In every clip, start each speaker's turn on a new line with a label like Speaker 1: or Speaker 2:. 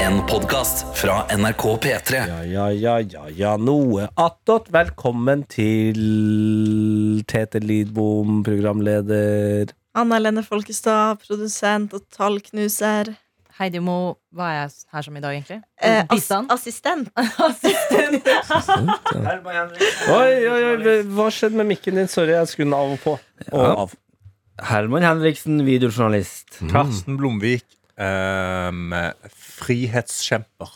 Speaker 1: En podcast fra NRK P3
Speaker 2: Ja, ja, ja, ja, ja, noe attåt. Velkommen til Tete Lidbom, programleder.
Speaker 3: Anna Helene Folkestad, produsent og tallknuser.
Speaker 4: Heidi Mo, hva er jeg her som i dag, egentlig?
Speaker 3: Eh, ass
Speaker 4: Bistand?
Speaker 3: assistent.
Speaker 4: Assistent.
Speaker 2: Oi, oi, oi, hva skjedde med mikken din? Sorry, jeg skulle den av og på. Og
Speaker 5: Ja.
Speaker 2: av.
Speaker 5: Herman Henriksen, videojournalist.
Speaker 6: Karsten Blomvik, ehm, frihetskjemper.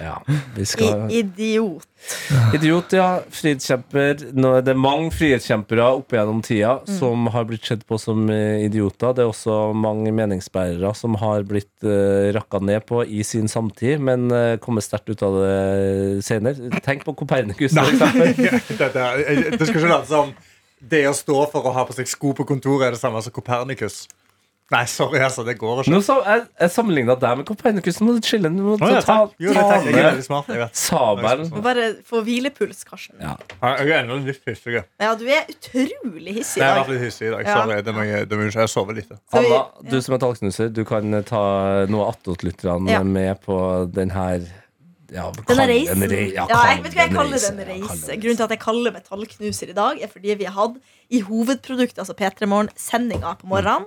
Speaker 2: Ja, vi skal...
Speaker 3: I, idiot.
Speaker 2: Idiot, ja. Frihetskjemper. Nå er det mange frihetskjempere opp gjennom tida som har blitt sett på som eh, idioter. Det er også mange meningsbærere som har blitt eh, rakka ned på i sin samtid, men eh, kommer sterkt ut av det senere. Tenk på Kopernikus, for eksempel.
Speaker 6: Dette er- Det skal ikke late som det å stå for å ha på seg sko på kontoret er det samme som Kopernikus. Nei, sorry, altså. Det går ikke.
Speaker 2: Nå sa- jeg, jeg sammenligna deg med Kopernikus. Nå må du chille. Du må
Speaker 6: Å, ja,
Speaker 2: ta,
Speaker 6: takk. Jo, det
Speaker 2: ta
Speaker 6: takk. Jeg er veldig
Speaker 2: ned
Speaker 6: smart. Jeg vet.
Speaker 2: sabelen.
Speaker 3: Må bare få hvilepuls, Karsten.
Speaker 2: Ja.
Speaker 6: Jeg er ennå litt hissig. Jeg
Speaker 3: Ja, du er utrolig hissig i
Speaker 6: har vært
Speaker 3: dag.
Speaker 6: litt hissig i dag.
Speaker 3: Ja.
Speaker 6: Sorry. Det må jeg, det må jeg, jeg sover lite.
Speaker 3: Så vi-
Speaker 2: Anna, du som er tallknuser, du kan eh, ta noe attåtlytterne
Speaker 3: Ja.
Speaker 2: med på den her ja,
Speaker 3: Denne
Speaker 2: kall
Speaker 3: reisen.
Speaker 2: en rei-
Speaker 3: Ja,
Speaker 2: kall
Speaker 3: jeg vet ikke hva jeg
Speaker 2: en
Speaker 3: kaller
Speaker 2: reise.
Speaker 3: den
Speaker 2: Ja, kall
Speaker 3: reise.
Speaker 2: en
Speaker 3: Grunnen til at jeg kaller meg tallknuser i dag, er fordi vi har hatt i hovedproduktet, altså P3 Morgen-sendinga på morgenen,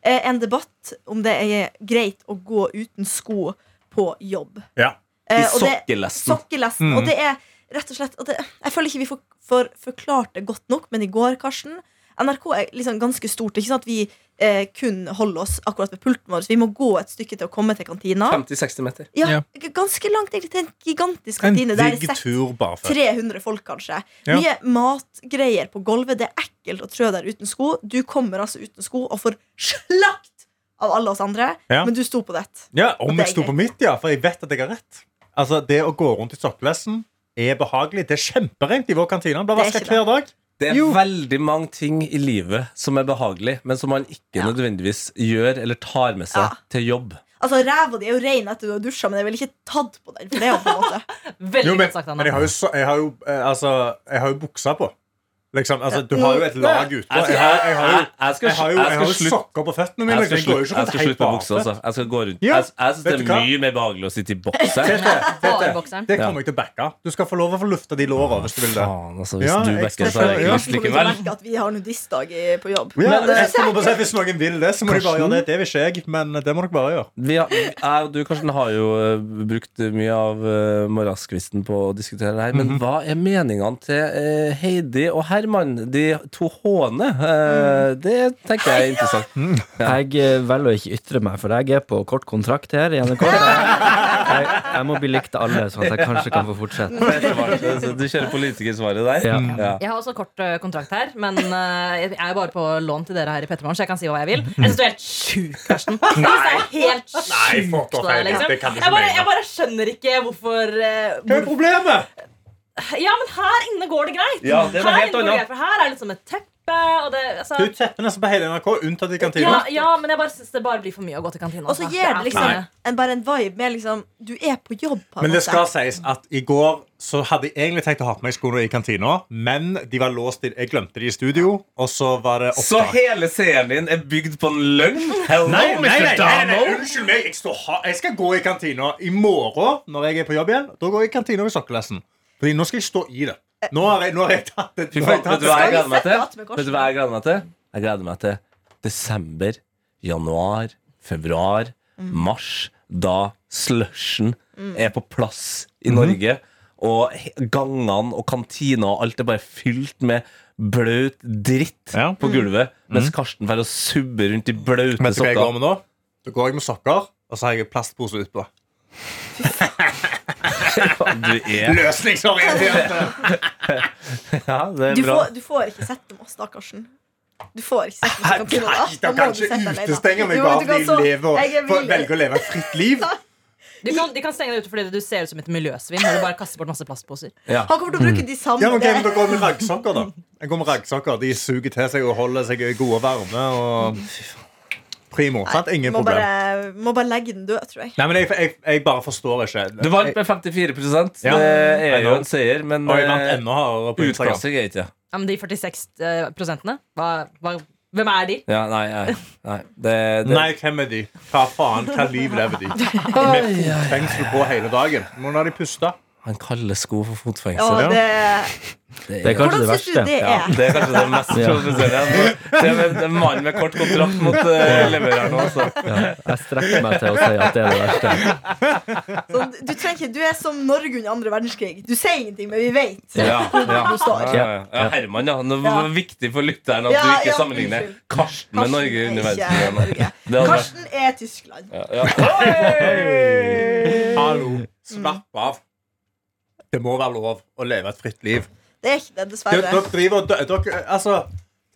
Speaker 3: eh, en debatt om det er greit å gå uten sko på jobb.
Speaker 6: Ja.
Speaker 2: I
Speaker 3: Eh, og det-
Speaker 2: sokkelesten.
Speaker 3: sokkelesten.
Speaker 6: Mm.
Speaker 3: Og det er rett og slett og det, Jeg føler ikke vi får, får forklart det godt nok, men i går, Karsten NRK er liksom ganske stort. Det er Ikke sånn at vi eh, kun holder oss akkurat ved pulten vår. Så vi må gå et stykke til å komme til kantina.
Speaker 2: 50-60 meter.
Speaker 3: Ja,
Speaker 6: Ja.
Speaker 3: g- Ganske langt egentlig til en gigantisk
Speaker 6: En
Speaker 3: kantine. Der det
Speaker 6: digg
Speaker 3: sitter
Speaker 6: tur bare for
Speaker 3: 300 folk, kanskje.
Speaker 6: Ja.
Speaker 3: Mye matgreier på gulvet. Det er ekkelt å trø der uten sko. Du kommer altså uten sko og får slakt av alle oss andre,
Speaker 6: Ja.
Speaker 3: men du sto på dett.
Speaker 6: Ja, om
Speaker 3: det
Speaker 6: jeg
Speaker 3: er
Speaker 6: sto
Speaker 3: greit.
Speaker 6: på mitt, ja. For jeg vet at jeg har rett. Altså, Det å gå rundt i sokkelesten er behagelig. Det er kjemperent i vår kantine. Den blir
Speaker 3: Det er
Speaker 6: vaska
Speaker 3: ikke det.
Speaker 6: hver dag.
Speaker 2: Det er
Speaker 6: Jo.
Speaker 2: veldig mange ting i livet som er behagelig, men som man ikke nødvendigvis gjør eller tar med seg
Speaker 3: Ja.
Speaker 2: til jobb.
Speaker 3: Altså, Ræva di er jo rein etter du har dusja, men jeg ville ikke tatt på den. For det er jo på en måte
Speaker 4: Veldig
Speaker 6: Jo, men,
Speaker 4: godt sagt,
Speaker 6: men jeg
Speaker 4: Anna.
Speaker 6: har jo, så- jeg har jo, eh, altså, jeg har jo buksa på. Liksom, altså, du har jo et lag utpå.
Speaker 2: Jeg skal-
Speaker 6: Jeg har, jeg har jo,
Speaker 2: jeg- jeg skal-
Speaker 6: jeg har jo,
Speaker 2: jeg
Speaker 6: jeg har jo
Speaker 2: skal slutte-
Speaker 6: sokker på føttene mine.
Speaker 2: Jeg
Speaker 6: Liksom.
Speaker 2: skal
Speaker 6: Jeg går
Speaker 2: slutte
Speaker 6: jo ikke
Speaker 2: jeg
Speaker 6: rundt
Speaker 2: skal
Speaker 6: helt
Speaker 2: slutte med buksa,
Speaker 6: bakføtt.
Speaker 2: altså. Jeg skal gå rundt.
Speaker 6: Ja,
Speaker 2: Jeg, jeg syns det
Speaker 6: vet
Speaker 2: er
Speaker 6: du hva?
Speaker 2: mye mer behagelig å sitte i bokser.
Speaker 6: Tete,
Speaker 4: Bare
Speaker 6: Tete,
Speaker 4: bokseren.
Speaker 6: Det kommer jeg til å backe. Du skal få lov å få lufta de låra hvis du vil det.
Speaker 2: Faen, altså, hvis
Speaker 6: Ja,
Speaker 2: du
Speaker 6: jeg
Speaker 2: backer,
Speaker 6: skal-
Speaker 2: så har jeg
Speaker 6: ja.
Speaker 2: ikke lyst
Speaker 3: Kommer til å
Speaker 2: likevel.
Speaker 3: merke at vi har nudistdag i- på jobb.
Speaker 6: Ja,
Speaker 3: Men, eh,
Speaker 6: jeg skal bare si, hvis noen vil det, så må de bare
Speaker 2: Karsten?
Speaker 6: gjøre det. Det vil ikke jeg, men eh, det må dere bare gjøre.
Speaker 2: Vi har, jeg og du Karsten, har jo eh, brukt mye av uh, morgenskvisten på å diskutere det her. Men
Speaker 6: Mhm.
Speaker 2: hva er meningene til eh, Heidi og Herman, de to håene? Eh,
Speaker 6: Mm.
Speaker 2: Det tenker jeg er interessant.
Speaker 5: Jeg eh, velger å ikke ytre meg, for jeg er på kort kontrakt her i NRK. så Jeg, jeg må bli likt av alle, sånn at jeg kanskje kan få fortsette.
Speaker 2: Det er smart. Du kjører politikersvaret der?
Speaker 5: Ja.
Speaker 2: Ja.
Speaker 4: Jeg har også kort eh, kontrakt her, men eh, jeg er bare på lån til dere her i Pettermorgen, så jeg kan si hva jeg vil. Jeg syns du er helt sjuk, Karsten. Jeg synes det er helt
Speaker 6: Nei, fuck
Speaker 4: sjukt
Speaker 6: off,
Speaker 4: av deg,
Speaker 6: Heidi.
Speaker 4: liksom.
Speaker 6: Det kan du ikke
Speaker 4: Jeg bare,
Speaker 6: mene.
Speaker 4: jeg bare skjønner ikke hvorfor, eh,
Speaker 6: Hva er
Speaker 4: hvor
Speaker 6: problemet?
Speaker 4: Ja, men her inne går det greit.
Speaker 2: Ja, det er noe
Speaker 4: her
Speaker 2: helt
Speaker 4: inne går
Speaker 2: annet.
Speaker 4: det greit, for her er det liksom et teppe, og det altså,
Speaker 6: Du tepper nesten på hele NRK, unntatt i
Speaker 4: ja,
Speaker 6: kantina.
Speaker 4: ja, men jeg bare syns det bare blir for mye å gå til kantina.
Speaker 3: Og så
Speaker 4: altså.
Speaker 3: gir det
Speaker 4: er for
Speaker 3: liksom
Speaker 4: mye.
Speaker 3: en, bare en vibe med liksom Du er på jobb, på en
Speaker 6: Men det
Speaker 3: måte.
Speaker 6: skal sies at i går så hadde jeg egentlig tenkt å ha på meg skoene i kantina, men de var låst i Jeg glemte de i studio, og så var det
Speaker 2: Så
Speaker 6: opptak.
Speaker 2: hele serien din er bygd på en løgn? Hello,
Speaker 6: Nei,
Speaker 2: Mr.
Speaker 6: nei, nei, nei, nei, nei,
Speaker 2: Donald!
Speaker 6: unnskyld meg. Jeg, står ha jeg skal gå i kantina i morgen når jeg er på jobb igjen. Da går jeg i kantina i sokkelesten. Fordi nå skal jeg stå i det. Nå har jeg, nå har jeg tatt det.
Speaker 2: Fy
Speaker 6: nå har
Speaker 2: faen,
Speaker 6: jeg
Speaker 2: vet
Speaker 6: tatt
Speaker 2: du hva jeg
Speaker 3: Skal
Speaker 2: gleder
Speaker 3: vi
Speaker 2: meg
Speaker 3: sette alt
Speaker 2: til?
Speaker 3: med
Speaker 2: Vet du hva jeg gleder meg til? Jeg gleder meg til desember, januar, februar,
Speaker 3: Mm.
Speaker 2: mars, da slushen er på plass i
Speaker 6: Mhm.
Speaker 2: Norge. Og he- gangene og kantina og alt er bare fylt med blaut dritt
Speaker 6: Ja.
Speaker 3: Mm.
Speaker 6: Mm.
Speaker 2: på gulvet. Mens Karsten får å subbe rundt i blaute
Speaker 6: Vet du hva jeg går
Speaker 2: sokker.
Speaker 6: med nå? Da går jeg med sokker, og så har jeg plastpose utpå.
Speaker 2: Du er
Speaker 6: Løsningsorientert.
Speaker 2: ja, det er
Speaker 3: du,
Speaker 2: bra.
Speaker 3: får, du får ikke sett dem oss, da, Karsten. Du får ikke sett dem i kantina. Da.
Speaker 6: De
Speaker 3: Da må
Speaker 6: kan
Speaker 3: du sette
Speaker 6: ikke
Speaker 3: deg
Speaker 6: utestenge
Speaker 3: alene.
Speaker 6: meg
Speaker 3: Jo,
Speaker 6: bare
Speaker 3: du kan
Speaker 6: fordi
Speaker 3: så-
Speaker 6: jeg lever og
Speaker 3: jeg er
Speaker 6: for-
Speaker 3: villig.
Speaker 6: velger å leve et fritt liv.
Speaker 4: Du kan, de kan stenge deg ute fordi du ser ut som et miljøsvin når du bare kaster bort masse plastposer.
Speaker 2: Ja.
Speaker 3: Han kommer til å bruke de samme
Speaker 6: Ja, men hvem da går med raggsokker, da? Jeg går med raggsokker, De suger til seg og holder seg gode og varme. Og primo. Sant? Ingen
Speaker 3: må,
Speaker 6: problem.
Speaker 3: bare, må bare legge den død, tror jeg.
Speaker 6: Nei, men jeg, jeg, jeg bare forstår ikke.
Speaker 2: Du vant med 54
Speaker 6: Ja.
Speaker 2: Det er
Speaker 6: I
Speaker 2: jo
Speaker 6: know.
Speaker 2: en seier, men
Speaker 6: Og jeg vant
Speaker 2: eh,
Speaker 6: enda hardere på Instagram.
Speaker 2: utklassing er ikke det.
Speaker 4: Ja, men de 46 eh, prosentene, hva, hva, Hvem er de?
Speaker 2: Ja, nei, nei, nei. Det, det,
Speaker 6: Nei, hvem er de? Hva faen? Hva liv lever de? Med fotfengsel på hele dagen. Må la de puste.
Speaker 2: Han kaller sko for
Speaker 3: Ja,
Speaker 2: fotfengsel.
Speaker 3: det,
Speaker 5: Det er kanskje
Speaker 3: hvordan
Speaker 5: det
Speaker 3: syns du
Speaker 5: verste.
Speaker 3: det er?
Speaker 2: Det er kanskje det mest
Speaker 5: Ja.
Speaker 2: provoserende. Det er en mann med kort kontrakt mot uh, levereren nå, altså.
Speaker 5: Ja, jeg strekker meg til å si at det er det verste.
Speaker 3: Sånn, du, trenger ikke, du er som Norge under andre verdenskrig. Du sier ingenting, men vi vet.
Speaker 2: Ja, ja.
Speaker 3: Du står.
Speaker 2: Ja, ja. ja, Herman, ja. Det var viktig for lytteren at
Speaker 3: Ja,
Speaker 2: du ikke
Speaker 3: ja,
Speaker 2: sammenligner
Speaker 3: unnskyld.
Speaker 2: Karsten med Norge i
Speaker 3: Karsten er ikke
Speaker 2: universet.
Speaker 3: Norge.
Speaker 2: Det hadde vært-
Speaker 3: Karsten er Tyskland.
Speaker 2: ja, ja.
Speaker 6: Hallo. Slapp av. Det må være lov å leve et fritt liv.
Speaker 3: Det er ikke det,
Speaker 6: Dere,
Speaker 3: dessverre.
Speaker 6: dere driver og dø- dere, Altså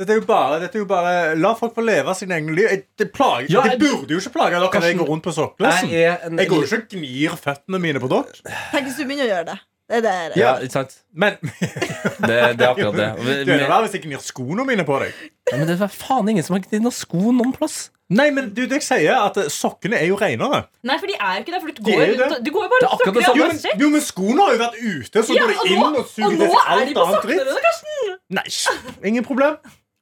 Speaker 6: dette er, jo bare, dette er jo bare La folk få leve sine egne liv. Jeg- Det, plager,
Speaker 2: Ja,
Speaker 6: det burde jo ikke plage dere når jeg
Speaker 2: Karsten,
Speaker 6: går rundt på sokkelesten.
Speaker 2: Jeg er en
Speaker 6: Jeg går jo ikke og gnir føttene mine på dere.
Speaker 3: Tenk hvis du begynner å gjøre det. Det er det det er.
Speaker 2: Ja, ikke sant?
Speaker 6: Men
Speaker 2: Det, det er akkurat det. Og vi-
Speaker 6: det
Speaker 2: men-
Speaker 6: er verre hvis jeg gnir skoene mine på deg.
Speaker 2: Ja, Men det er faen ingen som har gnidd noen sko noen plass.
Speaker 6: Nei, men du, det jeg sier er at eh, sokkene er jo renere.
Speaker 4: Nei, for de er jo ikke det. For du
Speaker 6: De
Speaker 4: går,
Speaker 6: er jo det.
Speaker 4: rundt- du går jo bare
Speaker 2: Det er akkurat det
Speaker 4: og
Speaker 6: Jo
Speaker 4: snakker
Speaker 2: samme.
Speaker 4: om
Speaker 6: men,
Speaker 4: shit.
Speaker 6: jo, men skoene har jo vært ute, så
Speaker 4: Ja,
Speaker 6: går de
Speaker 4: og
Speaker 6: inn
Speaker 4: nå-
Speaker 6: og suger
Speaker 4: og
Speaker 6: til
Speaker 4: nå
Speaker 6: seg
Speaker 4: er de
Speaker 6: alt
Speaker 4: på
Speaker 6: annet
Speaker 4: sokkene,
Speaker 6: dritt. Nei, sj- ingen problem.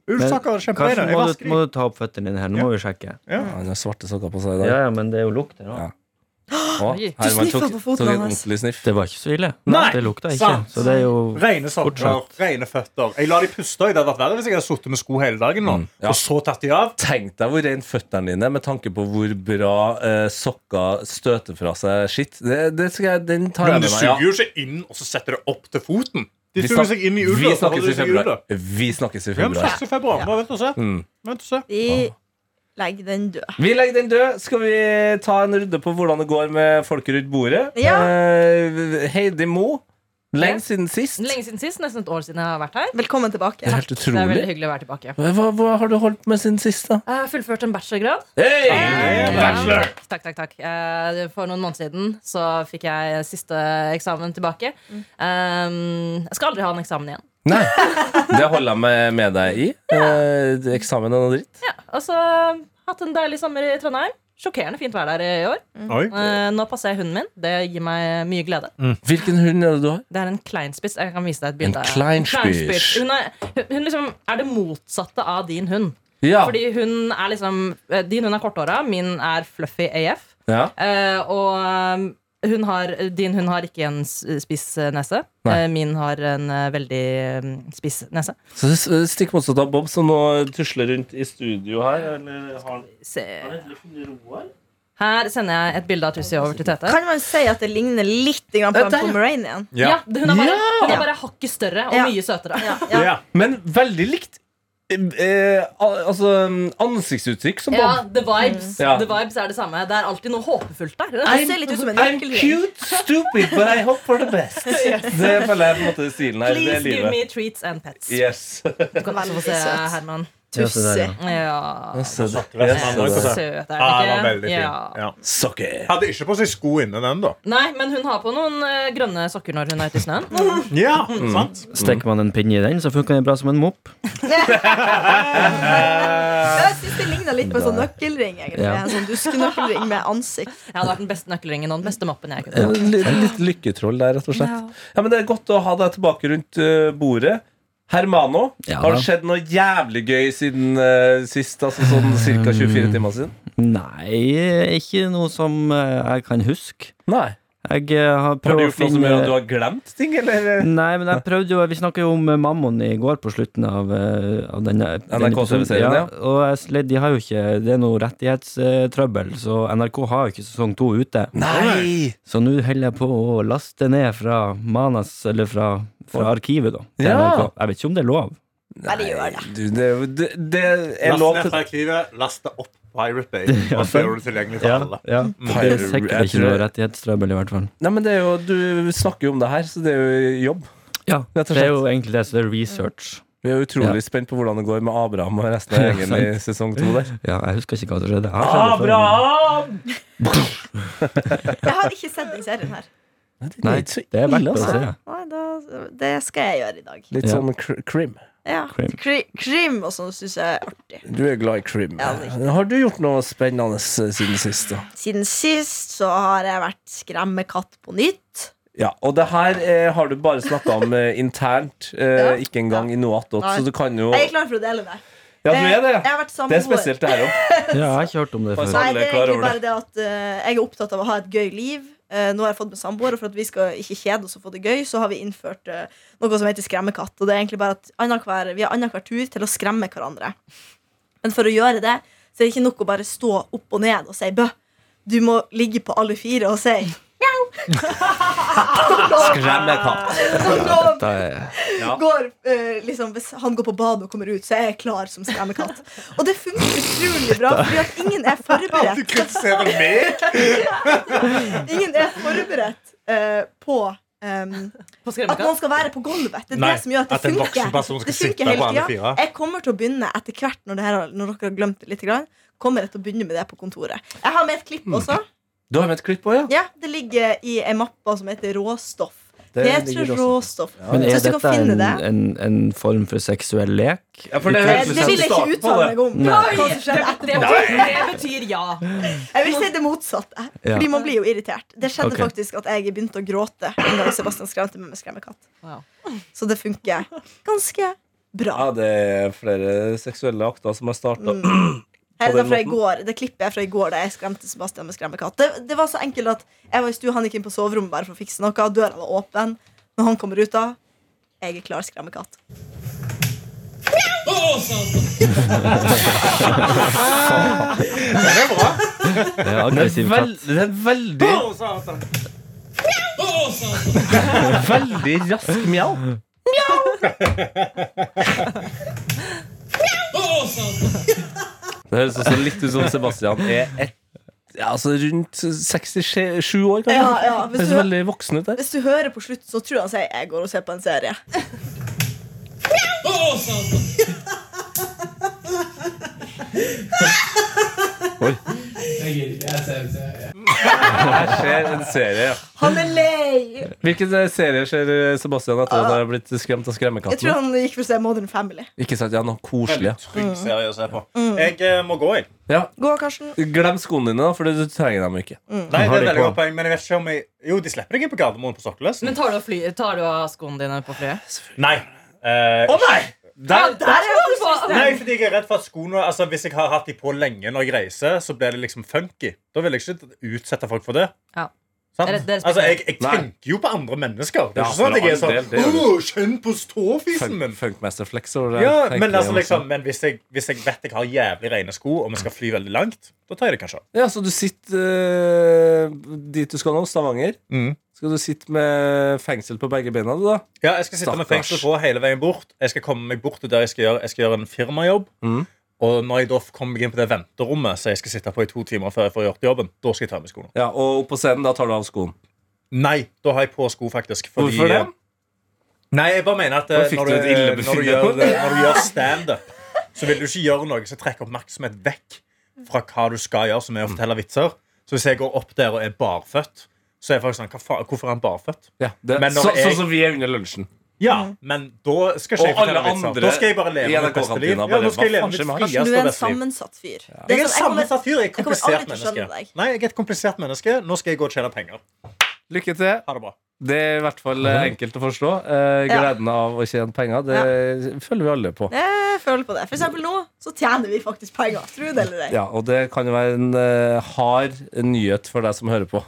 Speaker 6: Ullsokker er
Speaker 5: Kanskje
Speaker 6: kjemperene. Jeg
Speaker 5: må du,
Speaker 6: vasker
Speaker 5: må
Speaker 6: de.
Speaker 5: du ta opp føttene dine her. Nå må vi sjekke.
Speaker 2: Ja, Han har svarte sokker på seg i dag.
Speaker 5: Ja, ja, men det er jo lukt her
Speaker 2: Ja.
Speaker 5: òg.
Speaker 2: Å,
Speaker 4: Oi.
Speaker 2: Herman
Speaker 3: sniffer
Speaker 2: tok-
Speaker 3: på foten
Speaker 2: tok en
Speaker 3: hans.
Speaker 2: ordentlig sniff.
Speaker 5: Det var ikke så ille.
Speaker 6: Nei,
Speaker 5: det lukta ikke.
Speaker 6: sant.
Speaker 5: Så det er jo
Speaker 6: Rene sokker,
Speaker 5: Fortsatt.
Speaker 6: rene føtter. Jeg lar de puste. Det hadde vært verre hvis jeg hadde sittet med sko hele dagen nå,
Speaker 2: Mm, ja.
Speaker 6: og så tatt de av.
Speaker 2: Tenk deg hvor rent føttene dine med tanke på hvor bra eh, sokker støter fra seg skitt. Det, det skal jeg, den tar jeg
Speaker 6: Men du
Speaker 2: med meg. Ja.
Speaker 6: suger jo ikke inn, og så setter det opp til foten. De
Speaker 2: Vi
Speaker 6: suger
Speaker 2: snak-
Speaker 6: seg inn i
Speaker 2: vi
Speaker 6: ulla. så holder
Speaker 2: snakkes
Speaker 6: de
Speaker 2: i
Speaker 6: seg i ulla.
Speaker 2: februar. Vi snakkes i
Speaker 6: Ja, men
Speaker 2: februar.
Speaker 6: snakkes i februar. Bare vent og se.
Speaker 2: Mm.
Speaker 6: Vent og se.
Speaker 3: Vi legger den død.
Speaker 2: Vi legger den død. Skal vi ta en runde på hvordan det går med folket rundt bordet?
Speaker 3: Ja.
Speaker 2: Eh, Heidi Mo. Lenge siden sist.
Speaker 4: Lenge siden sist. Nesten et år siden jeg har vært her.
Speaker 3: Velkommen
Speaker 2: Det er
Speaker 3: tilbake.
Speaker 2: helt
Speaker 4: Det er veldig
Speaker 2: utrolig.
Speaker 4: hyggelig å være tilbake.
Speaker 2: Hva, hva har du holdt med siden sist, da?
Speaker 4: Jeg har fullført en bachelorgrad.
Speaker 2: Hey!
Speaker 4: Bachelor. Takk, takk, takk. Eh, For noen måneder siden så fikk jeg siste eksamen tilbake. Um, jeg skal aldri ha en eksamen igjen.
Speaker 2: Nei. Det holder jeg med, med deg i. Eh, eksamen og noe dritt.
Speaker 4: Ja, og så eh, hatt en deilig sommer i Trondheim. Sjokkerende fint vær der i år.
Speaker 6: Oi.
Speaker 4: Eh, nå passer jeg hunden min. Det gir meg mye glede.
Speaker 2: Hvilken hund er det du har?
Speaker 4: Det er en kleinspiss. Jeg kan vise deg et bilde.
Speaker 2: En kleinspiss.
Speaker 4: Hun, er, hun- hun liksom er det motsatte av din hund.
Speaker 2: Ja.
Speaker 4: Fordi hun er liksom eh, Din hund er korthåra, min er fluffy AF.
Speaker 2: ja.
Speaker 4: Eh, og um, hun har, din hund har ikke en s- spiss eh, nese.
Speaker 2: Nei.
Speaker 4: Eh, min har en eh, veldig eh, spiss nese.
Speaker 2: Så det er stikk motsatt av Bob, som nå tusler rundt i studio her. Eller har han
Speaker 4: Se.
Speaker 2: endelig funnet Roar?
Speaker 4: Her sender jeg et bilde av Tussi over til Tete.
Speaker 3: Kan man si at det ligner litt grann på en
Speaker 2: Der, ja.
Speaker 3: Pomeranian?
Speaker 4: Ja,
Speaker 6: Ja.
Speaker 4: hun, er bare,
Speaker 2: Ja!
Speaker 4: hun er bare hakket større og
Speaker 3: Ja.
Speaker 4: mye søtere.
Speaker 3: Ja, ja.
Speaker 6: Ja.
Speaker 2: Men veldig likt eh, eh, al- altså, ansiktsuttrykk som
Speaker 4: Ja,
Speaker 2: Bob.
Speaker 4: the vibes,
Speaker 2: Ja.
Speaker 4: the vibes er det samme. Det er alltid noe håpefullt der.
Speaker 3: Jeg ser litt ut som en
Speaker 2: I'm
Speaker 3: nøkkelhund.
Speaker 2: cute, stupid, but I hope for the best. Det føler jeg på en måte er stilen her. Det
Speaker 4: Please
Speaker 2: er
Speaker 4: give
Speaker 2: livet.
Speaker 4: me treats and pets.
Speaker 2: Yes.
Speaker 4: Du kan også få se
Speaker 3: Veldig søt.
Speaker 4: Herman.
Speaker 5: Ja, så der,
Speaker 3: Tussi.
Speaker 5: ja.
Speaker 4: Ja,
Speaker 2: Så det-
Speaker 6: Resten av
Speaker 2: så det-
Speaker 6: dagen.
Speaker 4: søt er
Speaker 6: Ja,
Speaker 4: den
Speaker 6: den var veldig
Speaker 4: ikke?
Speaker 6: fin.
Speaker 4: Ja.
Speaker 6: Ja.
Speaker 2: Sucker.
Speaker 6: Hadde ikke på seg sko inne, den, da.
Speaker 4: Nei, men hun har på noen eh, grønne sokker når hun er ute i snøen.
Speaker 6: Ja, sant?
Speaker 5: Stikker man en pinne i den, så funker den bra som en mopp.
Speaker 3: Jeg syns det ligner litt på en sånn nøkkelring. egentlig.
Speaker 5: Ja.
Speaker 3: En sånn duskenøkkelring med ansikt.
Speaker 4: Jeg hadde vært den beste nøkkelringen og den beste moppen jeg kunne.
Speaker 2: Ja, Litt, litt lykketroll der, rett og slett. Ja, men Det er godt å ha deg tilbake rundt eh, bordet. Hermano,
Speaker 5: Ja.
Speaker 2: har det skjedd noe jævlig gøy siden eh, sist? Altså sånn ca. 24 timer siden?
Speaker 5: Nei, ikke noe som eh, jeg kan huske.
Speaker 2: Nei.
Speaker 5: Jeg eh, har
Speaker 2: Har du
Speaker 5: prøvd å
Speaker 2: gjort noe som
Speaker 5: finne
Speaker 2: gjør at du har glemt ting, eller?
Speaker 5: Nei, men jeg prøvde jo Vi snakket jo om eh, Mammon i går på slutten av, eh, av denne, denne episoden.
Speaker 2: TV-serien, ja.
Speaker 5: Og jeg sle- de har jo ikke Det er noe rettighetstrøbbel, så NRK har jo ikke sesong to ute.
Speaker 2: Nei!
Speaker 5: Så nå holder jeg på å laste ned fra Manas, eller fra, fra arkivet, da. til
Speaker 2: Ja.
Speaker 5: NRK. Jeg vet ikke om det er lov.
Speaker 3: Nei, det gjør det.
Speaker 2: Du, det, det, det er
Speaker 6: Last
Speaker 2: lov
Speaker 6: ned
Speaker 2: til
Speaker 6: fra arkivet, last det opp Pirate Bay. Og så gjør du det tilgjengelig for
Speaker 5: Ja,
Speaker 6: alle.
Speaker 5: ja. Det er
Speaker 2: Pirate-
Speaker 5: sikkert
Speaker 2: jeg
Speaker 5: ikke
Speaker 2: tror-
Speaker 5: noe rettighetstrøbbel, i hvert fall.
Speaker 2: Nei, men det er jo, Du snakker jo om det her, så det er jo jobb.
Speaker 5: Ja,
Speaker 2: Rett og
Speaker 5: det er
Speaker 2: slett.
Speaker 5: jo egentlig det, så det er research.
Speaker 2: Vi er utrolig
Speaker 5: Ja.
Speaker 2: spent på hvordan det går med Abraham og resten av gjengen i sesong to der.
Speaker 5: Ja, jeg husker ikke hva som skjedde. Jeg har sett det før, men-
Speaker 2: Abraham!
Speaker 3: Jeg har ikke sett den serien her.
Speaker 5: Nei, det er verdt å
Speaker 2: altså.
Speaker 5: se.
Speaker 3: Nei, da, det skal jeg gjøre i dag.
Speaker 2: Litt
Speaker 5: Ja.
Speaker 2: sånn kr krim.
Speaker 3: Ja.
Speaker 5: Krim.
Speaker 3: Kri, krim og sånn syns jeg er artig.
Speaker 2: Du er glad i krim.
Speaker 3: Ja, det er
Speaker 2: Har du gjort noe spennende eh, siden sist? da?
Speaker 3: Siden sist så har jeg vært skremmekatt på nytt.
Speaker 2: Ja, Og det her eh, har du bare snakka om eh, internt, eh,
Speaker 3: Ja.
Speaker 2: ikke engang i noe attåt,
Speaker 3: Nei.
Speaker 2: så du kan jo
Speaker 3: Jeg er klar for å dele det.
Speaker 2: Ja, du er det,
Speaker 3: Jeg
Speaker 2: ja.
Speaker 3: har vært sammen
Speaker 2: Det er
Speaker 3: med henne-
Speaker 2: spesielt, det her òg.
Speaker 5: Ja, jeg har ikke hørt om det før.
Speaker 2: Så
Speaker 3: Nei,
Speaker 2: alle
Speaker 3: det er
Speaker 2: er klar
Speaker 3: egentlig
Speaker 2: over
Speaker 3: bare det at eh, jeg er opptatt av å ha et gøy liv. Eh, nå har jeg fått med samboer, og for at vi skal ikke kjede oss og få det gøy, så har vi innført eh, noe som heter skremmekatt. Og det er egentlig bare at annenhver- Vi har annenhver tur til å skremme hverandre. Men for å gjøre det, så er det ikke nok å bare stå opp og ned og si bø. Du må ligge på alle fire og si
Speaker 2: Skremmekatt.
Speaker 3: Og da
Speaker 5: Da er-
Speaker 3: går, eh, liksom, hvis han går på badet og kommer ut, så er jeg klar som skremmekatt. Og det funker utrolig bra, fordi at ingen er forberedt.
Speaker 6: Du kritiserer meg?
Speaker 3: Ingen er forberedt eh, på ehm,
Speaker 4: På
Speaker 3: at noen
Speaker 4: skremmekatt.
Speaker 3: skal være på gulvet. Det er
Speaker 6: Nei,
Speaker 3: det som gjør at det
Speaker 6: at en
Speaker 3: funker.
Speaker 6: voksen person skal
Speaker 3: det funker
Speaker 6: sitte på
Speaker 3: hele
Speaker 6: alle
Speaker 3: tiden.
Speaker 6: fire.
Speaker 3: Jeg kommer til å begynne etter hvert, når, det her, har- når dere har glemt det litt, grann, kommer jeg til å begynne med det på kontoret. Jeg har med et klipp
Speaker 5: Mm.
Speaker 3: også.
Speaker 2: Du har med et klipp òg, ja?
Speaker 3: Ja, Det ligger i ei mappe som heter Råstoff.
Speaker 2: Det
Speaker 3: Petra
Speaker 2: ligger også.
Speaker 3: Råstoff.
Speaker 5: Men er
Speaker 3: Hvis du kan
Speaker 5: dette en,
Speaker 3: finne det.
Speaker 5: en, en form for seksuell lek?
Speaker 2: Ja, for det
Speaker 3: Eh,
Speaker 2: høres ut
Speaker 3: Det
Speaker 2: som
Speaker 3: vil jeg ikke
Speaker 2: starten på
Speaker 3: uttale meg
Speaker 2: det.
Speaker 3: om.
Speaker 5: Nei.
Speaker 3: Hva som skjedde
Speaker 4: Det,
Speaker 3: etterpå.
Speaker 4: det betyr ja.
Speaker 3: Jeg vil si det motsatte.
Speaker 5: Ja.
Speaker 3: Fordi man blir jo irritert. Det skjedde
Speaker 5: Ok.
Speaker 3: faktisk at jeg begynte å gråte en gang Sebastian skremte meg med skremmekatt.
Speaker 4: Wow.
Speaker 3: Så det funker ganske
Speaker 2: Ja,
Speaker 3: bra.
Speaker 2: det er flere seksuelle akter som har starta. på
Speaker 3: Her er det,
Speaker 2: den
Speaker 3: fra i
Speaker 2: måten.
Speaker 3: går, det klippet er fra i går da jeg skremte Sebastian med skremmekatt. Det, det var så enkelt at jeg var i stua, han gikk inn på soverommet bare for å fikse noe. Døra var åpen. Når han kommer ut da jeg er klar skremmekatt.
Speaker 6: Det er bra.
Speaker 5: Det er aggressiv katt.
Speaker 2: det er veldig,
Speaker 6: Å, satan.
Speaker 2: veldig rask mjau. Det høres også litt ut som Sebastian er et, ja, altså rundt 67 år, kanskje.
Speaker 3: Ja, ja, hvis
Speaker 2: Høres
Speaker 3: du-
Speaker 2: veldig voksen ut der.
Speaker 3: Hvis du hører på slutt, så tror han sier jeg går og ser på en serie.
Speaker 2: Her skjer en serie.
Speaker 3: Han er lei!
Speaker 2: Hvilken eh, serie ser eh, Sebastian etter at han har blitt skremt av
Speaker 3: Jeg tror
Speaker 2: Skremmekatten?
Speaker 3: han gikk for å se Modern Family.
Speaker 2: Ikke sant, ja, noe koselig.
Speaker 6: Veldig trygg serie å se på. Jeg eh, må gå, jeg.
Speaker 2: Ja.
Speaker 3: Gå, Karsten.
Speaker 2: Glem skoene dine, da, for du trenger dem ikke.
Speaker 6: Nei, det
Speaker 5: Har
Speaker 6: er
Speaker 5: de
Speaker 6: veldig
Speaker 5: på?
Speaker 6: godt poeng, men jeg vet ikke om jeg Jo, de slipper deg inn på Gardermoen på Sokkeløs.
Speaker 4: Men tar du, av fly, tar du av skoene dine på flyet?
Speaker 6: Nei. Eh,
Speaker 2: nei!
Speaker 6: der,
Speaker 4: Der er sånn du på!
Speaker 6: nei, fordi jeg er redd for at skoene Altså, Hvis jeg har hatt de på lenge når jeg reiser, så blir det liksom funky. Da vil jeg ikke utsette folk for det.
Speaker 4: Ja.
Speaker 6: Sant?
Speaker 4: Det er- det er
Speaker 6: altså, jeg, jeg
Speaker 2: Nei.
Speaker 6: tenker jo på andre mennesker. Det
Speaker 2: Ja,
Speaker 6: er ikke sånn at
Speaker 2: for
Speaker 6: jeg er
Speaker 2: all del, det gjør
Speaker 6: sånn
Speaker 2: du.
Speaker 6: Åh, kjenn på ståfisen
Speaker 2: Funk-
Speaker 6: min!
Speaker 2: Funkmaster Flex over det.
Speaker 6: Ja,
Speaker 2: tenker
Speaker 6: men, altså,
Speaker 2: jeg også.
Speaker 6: liksom, men hvis, jeg, hvis jeg vet jeg har jævlig rene sko, og vi skal fly veldig langt, da tar jeg det kanskje av.
Speaker 2: Ja, så du sitter eh, dit du skal nå, Stavanger.
Speaker 6: Mm.
Speaker 2: Skal du sitte med fengsel på begge beina, du, da?
Speaker 6: Ja, jeg skal sitte med
Speaker 2: Stakkars.
Speaker 6: fengsel på hele veien bort. Jeg skal komme meg bort til der jeg skal gjøre, jeg skal gjøre en firmajobb.
Speaker 2: Mhm.
Speaker 6: Og når jeg da kommer meg inn på det venterommet som jeg skal sitte på i to timer før jeg får gjort jobben, da skal jeg ta av meg skoene.
Speaker 2: Ja, Og opp på scenen, da tar du av skoen.
Speaker 6: Nei, da har jeg på sko, faktisk. Fordi, eh,
Speaker 2: Hvorfor det?
Speaker 6: Nei, jeg bare mener at eh,
Speaker 2: Da fikk
Speaker 6: når
Speaker 2: du
Speaker 6: du,
Speaker 2: et illebefinnende.
Speaker 6: når du gjør, eh, når du gjør standup, så vil du ikke gjøre noe som trekker oppmerksomhet vekk fra hva du skal gjøre, som er å fortelle vitser. Så hvis jeg går opp der og er barføtt, så er jeg faktisk sånn hva faen, Hvorfor er han barføtt?
Speaker 2: Ja, det,
Speaker 6: Men når
Speaker 2: så,
Speaker 6: jeg-
Speaker 2: Sånn som vi er under lunsjen.
Speaker 6: Ja,
Speaker 3: Mm.
Speaker 6: men da skal ikke jeg
Speaker 2: Og alle
Speaker 6: fortelle vitser.
Speaker 2: andre
Speaker 6: Da skal jeg bare
Speaker 2: i
Speaker 6: leve mitt beste liv.
Speaker 2: NRK-kantina
Speaker 6: Ja,
Speaker 2: bare,
Speaker 6: da skal jeg
Speaker 2: hva
Speaker 6: leve
Speaker 2: faen
Speaker 6: mitt
Speaker 2: skjer med han?
Speaker 3: Karsten, du
Speaker 6: frieste
Speaker 3: er en
Speaker 6: og beste liv.
Speaker 3: sammensatt fyr. Det
Speaker 6: Jeg er
Speaker 3: sånn- jeg kommer-
Speaker 6: sammensatt fyr. Jeg er et
Speaker 3: kommer aldri
Speaker 6: komplisert
Speaker 3: til å skjønne
Speaker 6: menneske.
Speaker 3: deg.
Speaker 6: Nei, jeg er et komplisert menneske. Nå skal jeg gå og tjene penger.
Speaker 2: Lykke til.
Speaker 6: Ha det bra.
Speaker 2: Det er i hvert fall eh, enkelt å forstå. Eh,
Speaker 3: Ja.
Speaker 2: gleden av å tjene penger, det følger vi alle på.
Speaker 3: Jeg føler på det. For eksempel nå så tjener vi faktisk penger. Tror du det eller ei?
Speaker 2: Ja, Og det kan jo være en eh, hard nyhet for deg som hører på.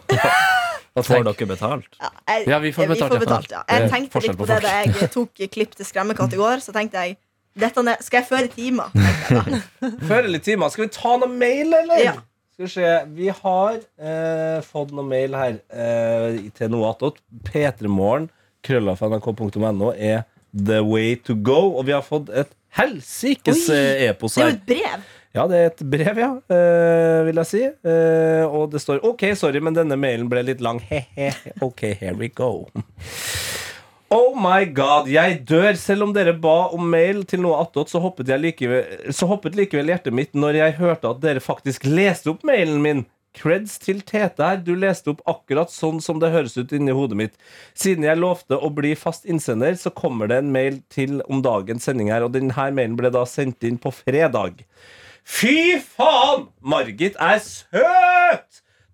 Speaker 2: Og
Speaker 5: Får
Speaker 2: tenk-
Speaker 5: dere betalt?
Speaker 3: Ja, jeg-
Speaker 2: Ja, vi får betalt, ja.
Speaker 3: ja.
Speaker 2: Det
Speaker 3: Jeg
Speaker 2: er
Speaker 3: tenkte
Speaker 2: forskjell
Speaker 3: litt
Speaker 2: på
Speaker 3: på det da jeg tok klipp til Skremmekatt i går. Så tenkte jeg dette er, skal jeg føre i timer?
Speaker 2: Før eller timer. Skal vi ta noe mail, eller?
Speaker 3: Ja.
Speaker 2: Skal vi se. Vi har eh, fått noe mail her eh, til noe attåt. P3morgen, krøllafnrk.no, er the way to go. Og vi har fått et helsikes
Speaker 3: Oi.
Speaker 2: eh, epos
Speaker 3: Det er jo
Speaker 2: her.
Speaker 3: et brev.
Speaker 2: Ja, det er et brev, ja, eh, vil jeg si. Eh, og det står OK, sorry, men denne mailen ble litt lang. He-he. OK, here we go. Oh my god, jeg dør! Selv om dere ba om mail til noe attåt, så, hoppet jeg likevel- så hoppet likevel hjertet mitt når jeg hørte at dere faktisk leste opp mailen min. Creds til Tete her, du leste opp akkurat sånn som det høres ut inni hodet mitt. Siden jeg lovte å bli fast innsender, så kommer det en mail til om dagens sending her, og denne mailen ble da sendt inn på fredag. Fy faen! Margit er søt!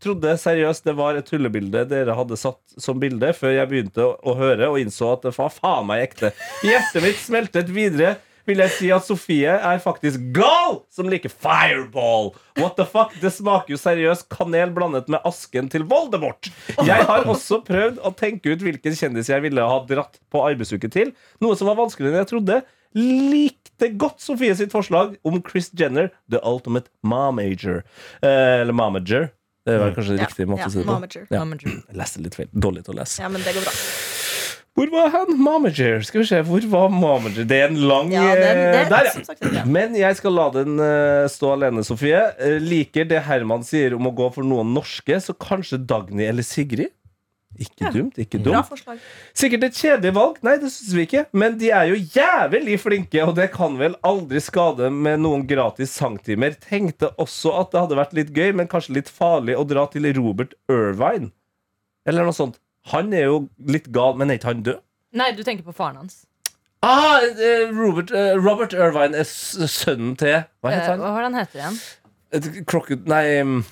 Speaker 2: Trodde seriøst det var et tullebilde dere hadde satt som bilde, før jeg begynte å, å høre og innså at det var faen meg ekte. Hjertet mitt smeltet videre vil jeg si at Sofie er faktisk gal som liker fireball. What the fuck? Det smaker jo seriøst kanel blandet med asken til Voldemort. Jeg har også prøvd å tenke ut hvilken kjendis jeg ville ha dratt på arbeidsuke til. Noe som var vanskeligere enn jeg trodde. Likte godt Sofie sitt forslag om Chris Jenner, The Ultimate Momager. Eh, eller Momager. Det var kanskje
Speaker 3: Ja,
Speaker 2: riktig måte
Speaker 3: ja,
Speaker 2: å si det på.
Speaker 3: momager.
Speaker 2: Ja.
Speaker 4: Mamma Drew.
Speaker 2: Jeg leste litt feil. Dårlig til å lese.
Speaker 3: Ja, men det går bra.
Speaker 2: Hvor var han? Momager. Skal vi se, hvor var Momager? Det er en lang
Speaker 3: Ja, det, det,
Speaker 2: eh, Der,
Speaker 3: som
Speaker 2: ja!
Speaker 3: sagt, det er bra.
Speaker 2: Men jeg skal la den eh, stå alene, Sofie. Eh, liker det Herman sier om å gå for noen norske, så kanskje Dagny eller Sigrid? Ikke dumt, ikke
Speaker 3: bra
Speaker 2: dumt.
Speaker 3: forslag.
Speaker 2: Sikkert et kjedelig valg, nei, det syns vi ikke. Men de er jo jævlig flinke, og det kan vel aldri skade med noen gratis sangtimer. Tenkte også at det hadde vært litt gøy, men kanskje litt farlig å dra til Robert Irvine. Eller noe sånt. Han er jo litt gal, men er ikke han død?
Speaker 4: Nei, du tenker på faren hans.
Speaker 2: Ah, eh, Robert, eh, Robert Irvine er s- sønnen til Hva
Speaker 4: Eh,
Speaker 2: heter han?
Speaker 4: Hva var det han heter igjen?
Speaker 2: Et Crocod... Nei mm,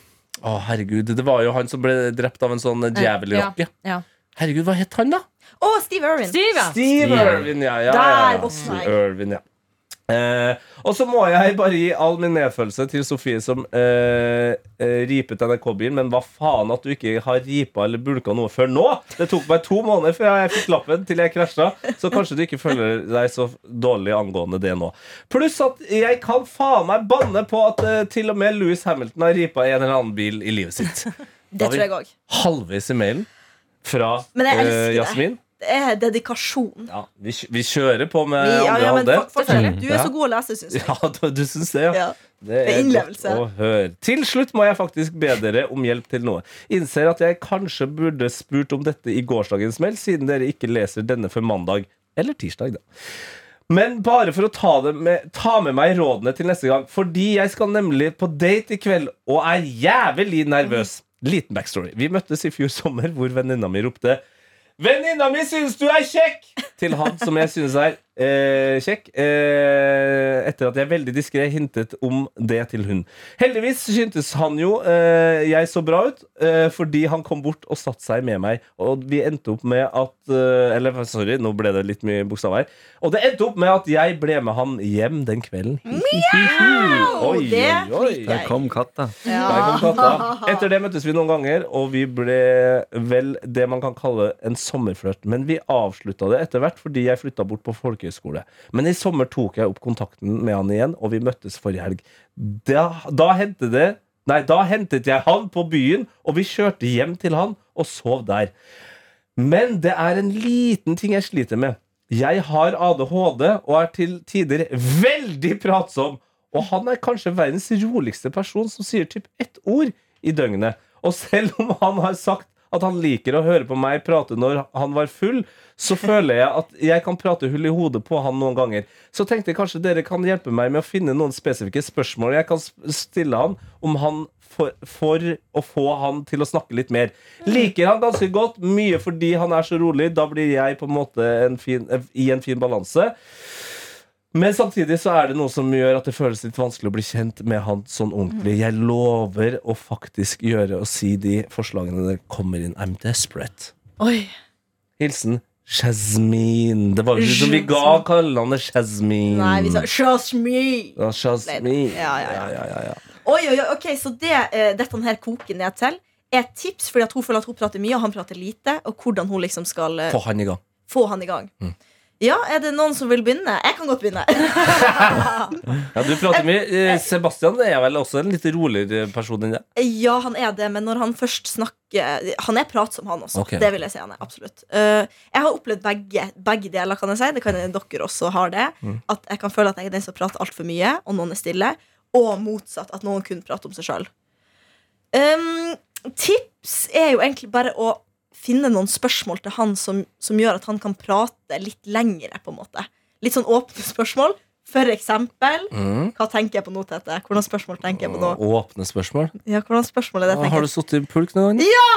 Speaker 2: Å, herregud. Det var jo han som ble drept av en sånn eh, djevelrokke.
Speaker 4: Ja.
Speaker 2: Herregud, hva het han, da?
Speaker 3: Å, Steve Irwin.
Speaker 4: Steve, ja.
Speaker 2: Steve Irwin, ja. ja, ja, ja.
Speaker 3: Der, å, nei.
Speaker 2: Steve Irwin, ja. Eh, og så må jeg bare gi all min nedfølelse til Sofie som eh, eh, ripet NRK-bilen. Men hva faen at du ikke har ripa eller bulka noe før nå? Det tok meg to måneder før jeg fikk lappen til jeg krasja. Så kanskje du ikke føler deg så dårlig angående det nå. Pluss at jeg kan faen meg banne på at eh, til og med Louis Hamilton har ripa en eller annen bil i livet sitt.
Speaker 3: Det tror jeg òg.
Speaker 2: Halvveis i mailen fra
Speaker 3: Men jeg elsker
Speaker 2: eh,
Speaker 3: det.
Speaker 2: Jasmin.
Speaker 3: Det er dedikasjon.
Speaker 2: Ja, vi, kj- vi kjører på
Speaker 6: Eh,
Speaker 2: med
Speaker 3: Vi- ja,
Speaker 2: andre
Speaker 3: ja, men
Speaker 2: halvdel.
Speaker 3: for- fortsett. Du er
Speaker 2: Ja.
Speaker 3: så god å lese, syns jeg.
Speaker 2: Ja, du, du syns det, ja.
Speaker 3: Ja.
Speaker 2: Det
Speaker 3: Det er innlevelse.
Speaker 2: godt å høre. Til slutt må jeg faktisk be dere om hjelp til noe. Innser at jeg kanskje burde spurt om dette i gårsdagens mail, siden dere ikke leser denne før mandag. Eller tirsdag, da. Men bare for å ta, det med, ta med meg rådene til neste gang, fordi jeg skal nemlig på date i kveld og er jævlig nervøs. Liten backstory. Vi møttes i fjor sommer, hvor venninna mi ropte Venninna mi syns du er kjekk! Til han som jeg synes er eh, kjekk. Eh, etter at jeg veldig diskré hintet om det til hun. Heldigvis syntes han jo eh, jeg så bra ut, eh, fordi han kom bort og satte seg med meg. Og vi endte opp med at eh, Eller sorry, nå ble det litt mye bokstav her. Og det endte opp med at jeg ble med han hjem den kvelden. Oi,
Speaker 3: Det
Speaker 2: oi, oi.
Speaker 3: liker jeg.
Speaker 5: Der kom katta.
Speaker 2: Der kom katta. Etter det møttes vi noen ganger, og vi ble vel det man kan kalle en sommerflørt. Men vi avslutta det etter hvert fordi jeg flytta bort på folkehøyskole. Men i sommer tok jeg opp kontakten med han igjen, og vi møttes forrige helg. Da, da hentet det Nei, da hentet jeg han på byen, og vi kjørte hjem til han og sov der. Men det er en liten ting jeg sliter med. Jeg har ADHD og er til tider veldig pratsom. Og han er kanskje verdens roligste person som sier typ ett ord i døgnet. Og selv om han har sagt at han liker å høre på meg prate når han var full, så føler jeg at jeg kan prate hull i hodet på han noen ganger. Så tenkte jeg kanskje dere kan hjelpe meg med å finne noen spesifikke spørsmål jeg kan sp- stille han om han for, for å få han til å snakke litt mer. Liker han ganske godt, mye fordi han er så rolig. Da blir jeg på en måte en fin, i en fin balanse. Men samtidig så er det noe som gjør at det føles litt vanskelig å bli kjent med han sånn
Speaker 3: Mm.
Speaker 2: ordentlig. Jeg lover å faktisk gjøre og si de forslagene der kommer inn. I'm desperate.
Speaker 3: Oi.
Speaker 2: Hilsen Jasmine. Det var jo ikke som vi ga kallenavnet Jasmine.
Speaker 3: Nei, vi sa Shashmi.
Speaker 2: ja, Jasmine.
Speaker 3: Ja, ja, ja.
Speaker 2: ja, ja.
Speaker 3: Oi, oi, oi, ok, så det, eh, dette her koker ned til er et tips, fordi at hun føler at hun prater mye, og han prater lite, og hvordan hun liksom skal eh,
Speaker 2: Få han i gang.
Speaker 3: få han i gang. Ja, er det noen som vil begynne? Jeg kan godt begynne.
Speaker 2: Ja, du prater mye. Eh, Sebastian er vel også en litt roligere person enn deg.
Speaker 3: Ja, han er det, men når han først snakker Han er pratsom, han også.
Speaker 2: Ok.
Speaker 3: Det vil jeg si han er, absolutt. Eh, jeg har opplevd begge, begge deler, kan jeg si. Det kan dere også har det. At jeg kan føle at jeg er den som prater altfor mye, og noen er stille. Og motsatt. At noen kun prater om seg sjøl. tips er jo egentlig bare å finne noen spørsmål til han som, som gjør at han kan prate litt lengre, på en måte. Litt sånn åpne spørsmål. For eksempel Hva tenker jeg på nå, Tete? Hvordan spørsmål tenker jeg på nå?
Speaker 2: Åpne spørsmål.
Speaker 3: Ja, hvordan spørsmål er det? tenker
Speaker 2: Har
Speaker 3: jeg?
Speaker 2: du sånn sittet i pulk noen gang? Ja!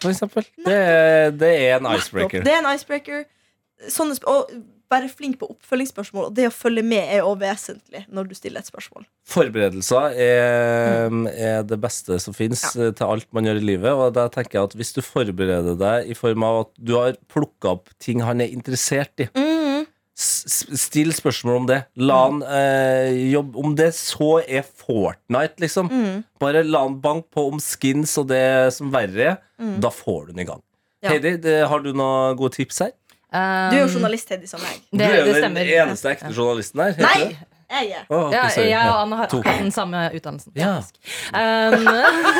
Speaker 2: For eksempel. Det, er- det er en icebreaker.
Speaker 3: Det er en icebreaker. Sånne sp og være flink på oppfølgingsspørsmål. Og det å følge med er jo også vesentlig når du stiller et spørsmål.
Speaker 2: Forberedelser er, er det beste som fins til alt man gjør i livet. Og da tenker jeg at hvis du
Speaker 4: Mm.
Speaker 2: forbereder deg i form av at du har plukka opp ting han er interessert i, S- s- Still spørsmål om det. La han eh, jobbe Om det så er Fortnite, liksom.
Speaker 4: Mm.
Speaker 2: Bare la han banke på om skins og det som verre er. Da får du den i gang.
Speaker 4: Mm. Ja.
Speaker 2: Heidi, det, har du noen gode tips her?
Speaker 4: Um,
Speaker 3: Du er jo journalist, Heddy, som meg.
Speaker 4: Det,
Speaker 2: du er jo
Speaker 4: det
Speaker 2: den
Speaker 4: stemmer.
Speaker 2: eneste ekte journalisten her. heter
Speaker 3: Nei!
Speaker 2: det?
Speaker 3: Jeg er
Speaker 2: Å, ok,
Speaker 4: Ja,
Speaker 2: sorry.
Speaker 4: jeg og
Speaker 2: Ja.
Speaker 4: Anne har
Speaker 2: To.
Speaker 4: akkurat den samme utdannelsen.
Speaker 2: Ja.
Speaker 4: Um,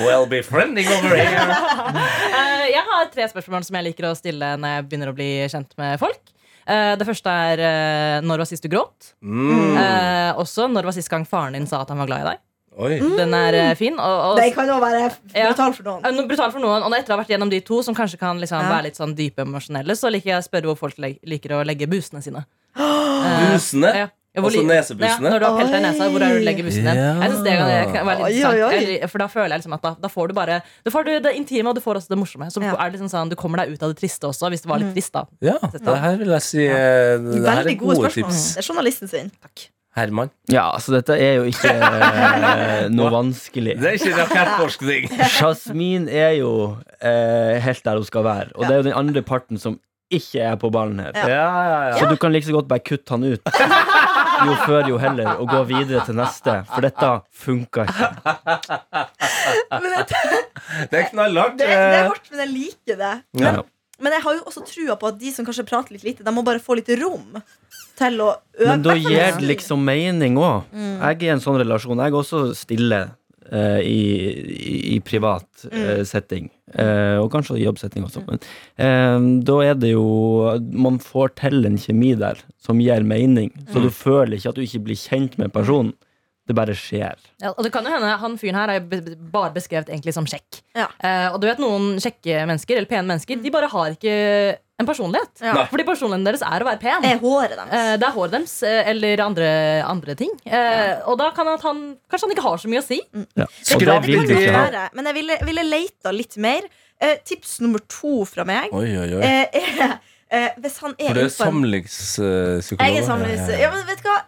Speaker 2: Well befriending over here.
Speaker 4: Eh, jeg har tre spørsmål som jeg liker å stille når jeg begynner å bli kjent med folk. Eh, det første er eh, når var sist du gråt?
Speaker 2: Mm.
Speaker 4: Eh, også når var sist gang faren din sa at han var glad i deg?
Speaker 2: Oi.
Speaker 4: Den er eh, fin. Og, og,
Speaker 3: Det kan jo være
Speaker 4: Ja.
Speaker 3: brutal for noen.
Speaker 4: Eh, noe brutal for noen, og etter å ha vært gjennom de to, som kanskje kan liksom
Speaker 3: Ja.
Speaker 4: være litt sånn dype emosjonelle, så liker jeg å spørre hvor folk leg liker å legge busene sine. Eh,
Speaker 2: Busene?
Speaker 4: ja. Ja,
Speaker 2: Altså nesebusene?
Speaker 4: Ja, når du har pelt deg i nesa, hvor er det du legger bussen din?
Speaker 2: Ja.
Speaker 4: Jeg synes det kan kan være litt
Speaker 3: Oi, oi, oi.
Speaker 4: interessant, eller- For da føler jeg liksom at da, da får du bare Da får du det intime, og du får også det morsomme. Så
Speaker 3: Ja. Mm.
Speaker 4: er det liksom sånn, Du kommer deg ut av det triste også, hvis det var litt trist, da.
Speaker 2: Ja, det her vil jeg si eh, Det her er
Speaker 3: Veldig gode
Speaker 2: gode
Speaker 3: spørsmål.
Speaker 2: tips.
Speaker 3: Det er journalisten sin.
Speaker 2: Herman.
Speaker 5: Ja, så dette er jo ikke eh, noe vanskelig.
Speaker 2: Det er ikke rakettforskning.
Speaker 5: Jasmin er jo eh, helt der hun skal være, og det er jo den andre parten som ikke er på ballen her.
Speaker 2: Ja, ja, ja.
Speaker 5: Så du kan like så godt bare kutte han ut. Jo før, jo heller, og gå videre til neste. For dette funka ikke.
Speaker 3: Men jeg,
Speaker 2: Det er knallhardt.
Speaker 3: det, er- det er hardt, men jeg liker det.
Speaker 5: Ja.
Speaker 3: Men jeg har jo også trua på at de som kanskje prater litt lite, de må bare få litt rom til å øve.
Speaker 5: Men da gir det
Speaker 3: Ja.
Speaker 5: liksom mening òg.
Speaker 2: Mm.
Speaker 5: Jeg er i en sånn relasjon. Jeg er også stille eh, i, i, i privat
Speaker 2: Mm.
Speaker 5: eh, setting. Eh, og kanskje i jobbsetting også. Men eh, da er det jo Man får til en kjemi der som gir mening.
Speaker 2: Mm.
Speaker 5: Så du føler ikke at du ikke blir kjent med personen. Det bare skjer.
Speaker 4: Ja, og det kan jo hende Han fyren her er jo be- be- bare beskrevet egentlig som kjekk.
Speaker 3: Ja. Mm.
Speaker 4: Eh, og du vet noen kjekke mennesker, eller pene mennesker, de bare har ikke en personlighet.
Speaker 3: Ja. Nei.
Speaker 4: Fordi personligheten deres er å være pen.
Speaker 3: Er håret
Speaker 4: Eh,
Speaker 3: deres.
Speaker 4: Det er håret deres, eh, eller andre, andre ting. Eh, Og da kan at han Kanskje han ikke har så mye å si.
Speaker 5: Og det
Speaker 2: Skrap
Speaker 5: vil
Speaker 3: kan
Speaker 5: du
Speaker 3: godt
Speaker 5: ikke ha.
Speaker 3: være, Men jeg ville, ville leita litt mer. Eh, tips nummer to fra meg
Speaker 2: Oi, oi, oi.
Speaker 3: eh, er eh, Hvis han er
Speaker 2: For du er
Speaker 3: inne på en-
Speaker 2: samlingspsykolog?
Speaker 3: Jeg er samlings... Ja, men vet du hva?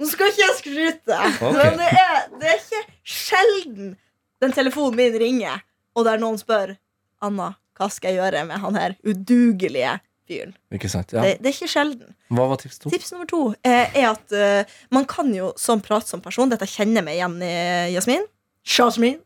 Speaker 3: Nå skal ikke jeg skryte.
Speaker 2: Ok.
Speaker 3: Men det er, det er ikke sjelden den telefonen min ringer, og der noen spør Anna, hva skal jeg gjøre med han her udugelige fyren?
Speaker 2: Ikke sant? Ja.
Speaker 3: Det, det er ikke sjelden.
Speaker 2: Hva var tips to?
Speaker 3: Tips nummer to eh, er at eh, man kan jo som pratsom person Dette kjenner jeg meg igjen i Jasmin. Jasmin.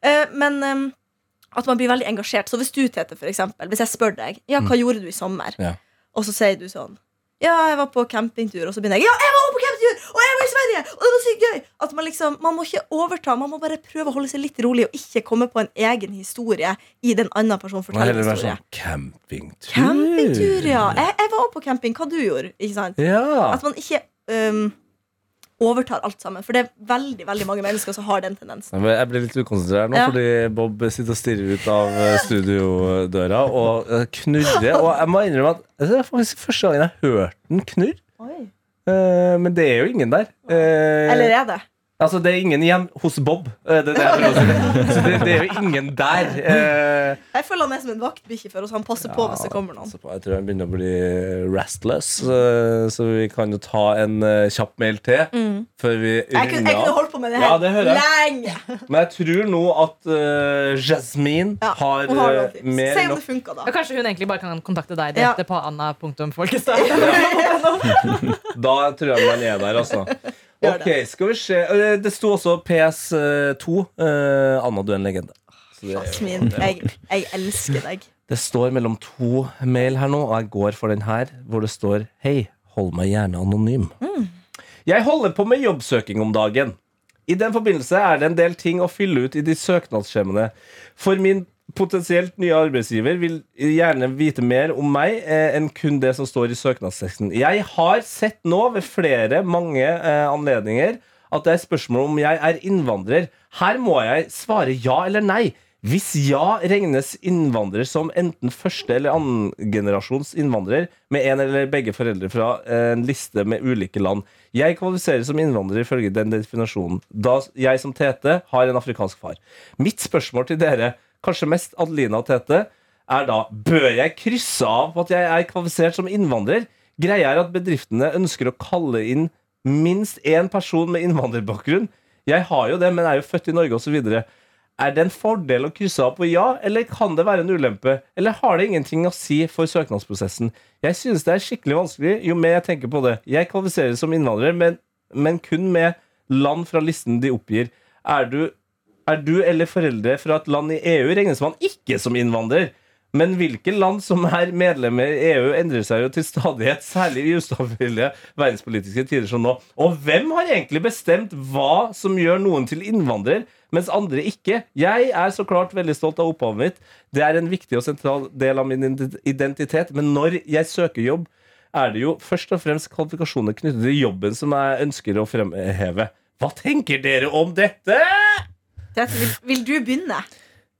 Speaker 3: Eh, men eh, at man blir veldig engasjert. Så hvis du, Tete, for eksempel, hvis jeg spør deg Ja, hva gjorde du i sommer,
Speaker 2: Mm. Ja.
Speaker 3: og så sier du sånn ja, jeg var på campingtur, og så begynner jeg. Ja, jeg var også på campingtur, og jeg var i Sverige, og det var sykt gøy At Man liksom, man må ikke overta, man må bare prøve å holde seg litt rolig og ikke komme på en egen historie i den andre personen
Speaker 2: Må
Speaker 3: forteller
Speaker 2: heller være
Speaker 3: historie.
Speaker 2: sånn campingtur.
Speaker 3: Campingtur, ja. Jeg, jeg var også på camping. Hva du gjorde, ikke sant?
Speaker 2: Ja.
Speaker 3: At man ikke øhm, overtar alt sammen. For det er veldig veldig mange mennesker som har den tendensen.
Speaker 2: Nei, men Jeg ble litt ukonsentrert nå,
Speaker 3: Ja.
Speaker 2: fordi Bob sitter og stirrer ut av eh, studiodøra og eh, knurrer. Og jeg må innrømme at altså, det er faktisk første gangen jeg har hørt den knurr. Eh, Men det er jo ingen der. Eh,
Speaker 3: Eller er det?
Speaker 2: Altså, det er ingen igjen hos Bob. Eh, Det, er det, jeg prøver å si. Så det, det er jo ingen der. Eh,
Speaker 3: Jeg føler han er som en vaktbikkje for oss. Han passer på hvis det kommer noen.
Speaker 2: altså, jeg tror han begynner å bli restless, eh, så vi kan jo ta en eh, kjapp mail til før vi
Speaker 3: Mm. Jeg kunne, jeg
Speaker 2: runder
Speaker 3: kunne
Speaker 2: av.
Speaker 3: holdt på med det
Speaker 2: Ja,
Speaker 3: her
Speaker 2: det hører jeg.
Speaker 3: lenge.
Speaker 2: Men jeg tror nå at eh, Jasmine
Speaker 3: Ja,
Speaker 2: har,
Speaker 3: hun har
Speaker 2: eh,
Speaker 3: noen tips.
Speaker 2: mer
Speaker 3: Se
Speaker 2: enn
Speaker 3: om det
Speaker 2: nok
Speaker 3: funka,
Speaker 4: Ja,
Speaker 3: da.
Speaker 4: kanskje hun egentlig bare kan kontakte deg
Speaker 3: Ja.
Speaker 4: direkte på anna.folkestad.
Speaker 2: Da tror jeg man er der, altså.
Speaker 3: Gjør
Speaker 2: Ok, skal vi se Eh, Det sto også PS2. eh, Anna, du er en legende. Så det er jo-
Speaker 3: Jasmin, jeg, jeg elsker deg.
Speaker 2: Det står mellom to mail her nå, og jeg går for den her, hvor det står Hei, hold meg gjerne anonym. Jeg holder på med jobbsøking om dagen. I den forbindelse er det en del ting å fylle ut i de søknadsskjemaene. For min potensielt nye arbeidsgiver vil gjerne vite mer om meg eh, enn kun det som står i søknadsteksten. Jeg har sett nå ved flere mange eh, anledninger at det er spørsmål om jeg er innvandrer. Her må jeg svare ja eller nei. Hvis ja, regnes innvandrer som enten første- eller annengenerasjons innvandrer med en eller begge foreldre fra eh, en liste med ulike land. Jeg kvalifiserer som innvandrer ifølge den definasjonen, da jeg som Tete har en afrikansk far. Mitt spørsmål til dere, kanskje mest Adelina og Tete, er da Bør jeg krysse av på at jeg er kvalifisert som innvandrer? Greia er at bedriftene ønsker å kalle inn minst én person med innvandrerbakgrunn. Jeg har jo det, men er jo født i Norge osv. Er det en fordel å krysse av på ja, eller kan det være en ulempe? Eller har det ingenting å si for søknadsprosessen? Jeg synes det er skikkelig vanskelig jo mer jeg tenker på det. Jeg kvalifiserer som innvandrer, men, men kun med land fra listen de oppgir. Er du, er du eller foreldre fra et land i EU regnes man ikke som innvandrer. Men hvilke land som er medlemmer i EU, endrer seg jo til stadighet, særlig i ustabile verdenspolitiske tider som nå. Og hvem har egentlig bestemt hva som gjør noen til innvandrer, mens andre ikke? Jeg er så klart veldig stolt av opphavet mitt. Det er en viktig og sentral del av min identitet. Men når jeg søker jobb, er det jo først og fremst kvalifikasjoner knyttet til jobben som jeg ønsker å fremheve. Hva tenker dere om dette?
Speaker 3: Tete, vil, vil du begynne?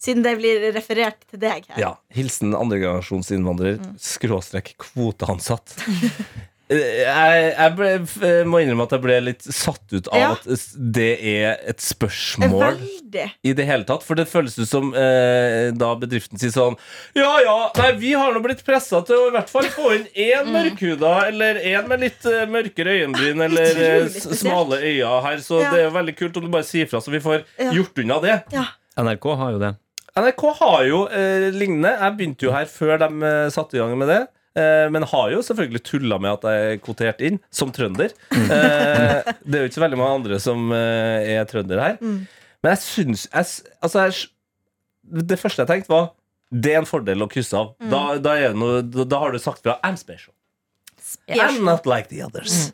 Speaker 3: Siden det blir referert til deg her.
Speaker 2: Ja, Hilsen andregenerasjonsinnvandrer,
Speaker 3: Mm.
Speaker 2: skråstrekk kvoteansatt. Eh, Jeg, jeg ble, f- må innrømme at jeg ble litt satt ut av
Speaker 3: Ja.
Speaker 2: at s- det er et spørsmål
Speaker 3: Veldig.
Speaker 2: i det hele tatt. For det føles ut som eh, da bedriften sier sånn Ja ja, nei, vi har nå blitt pressa til å i hvert fall få inn én
Speaker 3: Mm.
Speaker 2: mørkhuda, eller én med litt eh, mørkere øyenbryn, eller eh, s-
Speaker 3: spesielt.
Speaker 2: smale øyne her, så
Speaker 3: Ja.
Speaker 2: det er jo veldig kult om du bare sier fra, så vi får
Speaker 3: Ja.
Speaker 2: gjort unna det.
Speaker 3: Ja.
Speaker 5: NRK har jo det.
Speaker 2: NRK har jo eh, lignende. Jeg begynte jo her før de eh, satte i gang med det. Eh, men har jo selvfølgelig tulla med at jeg er kvotert inn, som trønder. Eh, det er jo ikke så veldig mange andre som eh, er trøndere her.
Speaker 3: Mm.
Speaker 2: Men jeg syns jeg, s- altså jeg, s- Det første jeg tenkte, var det er en fordel å krysse av.
Speaker 3: Mm.
Speaker 2: Da, da, er det noe, da, da har du sagt fra. I'm special. I'm not like the others.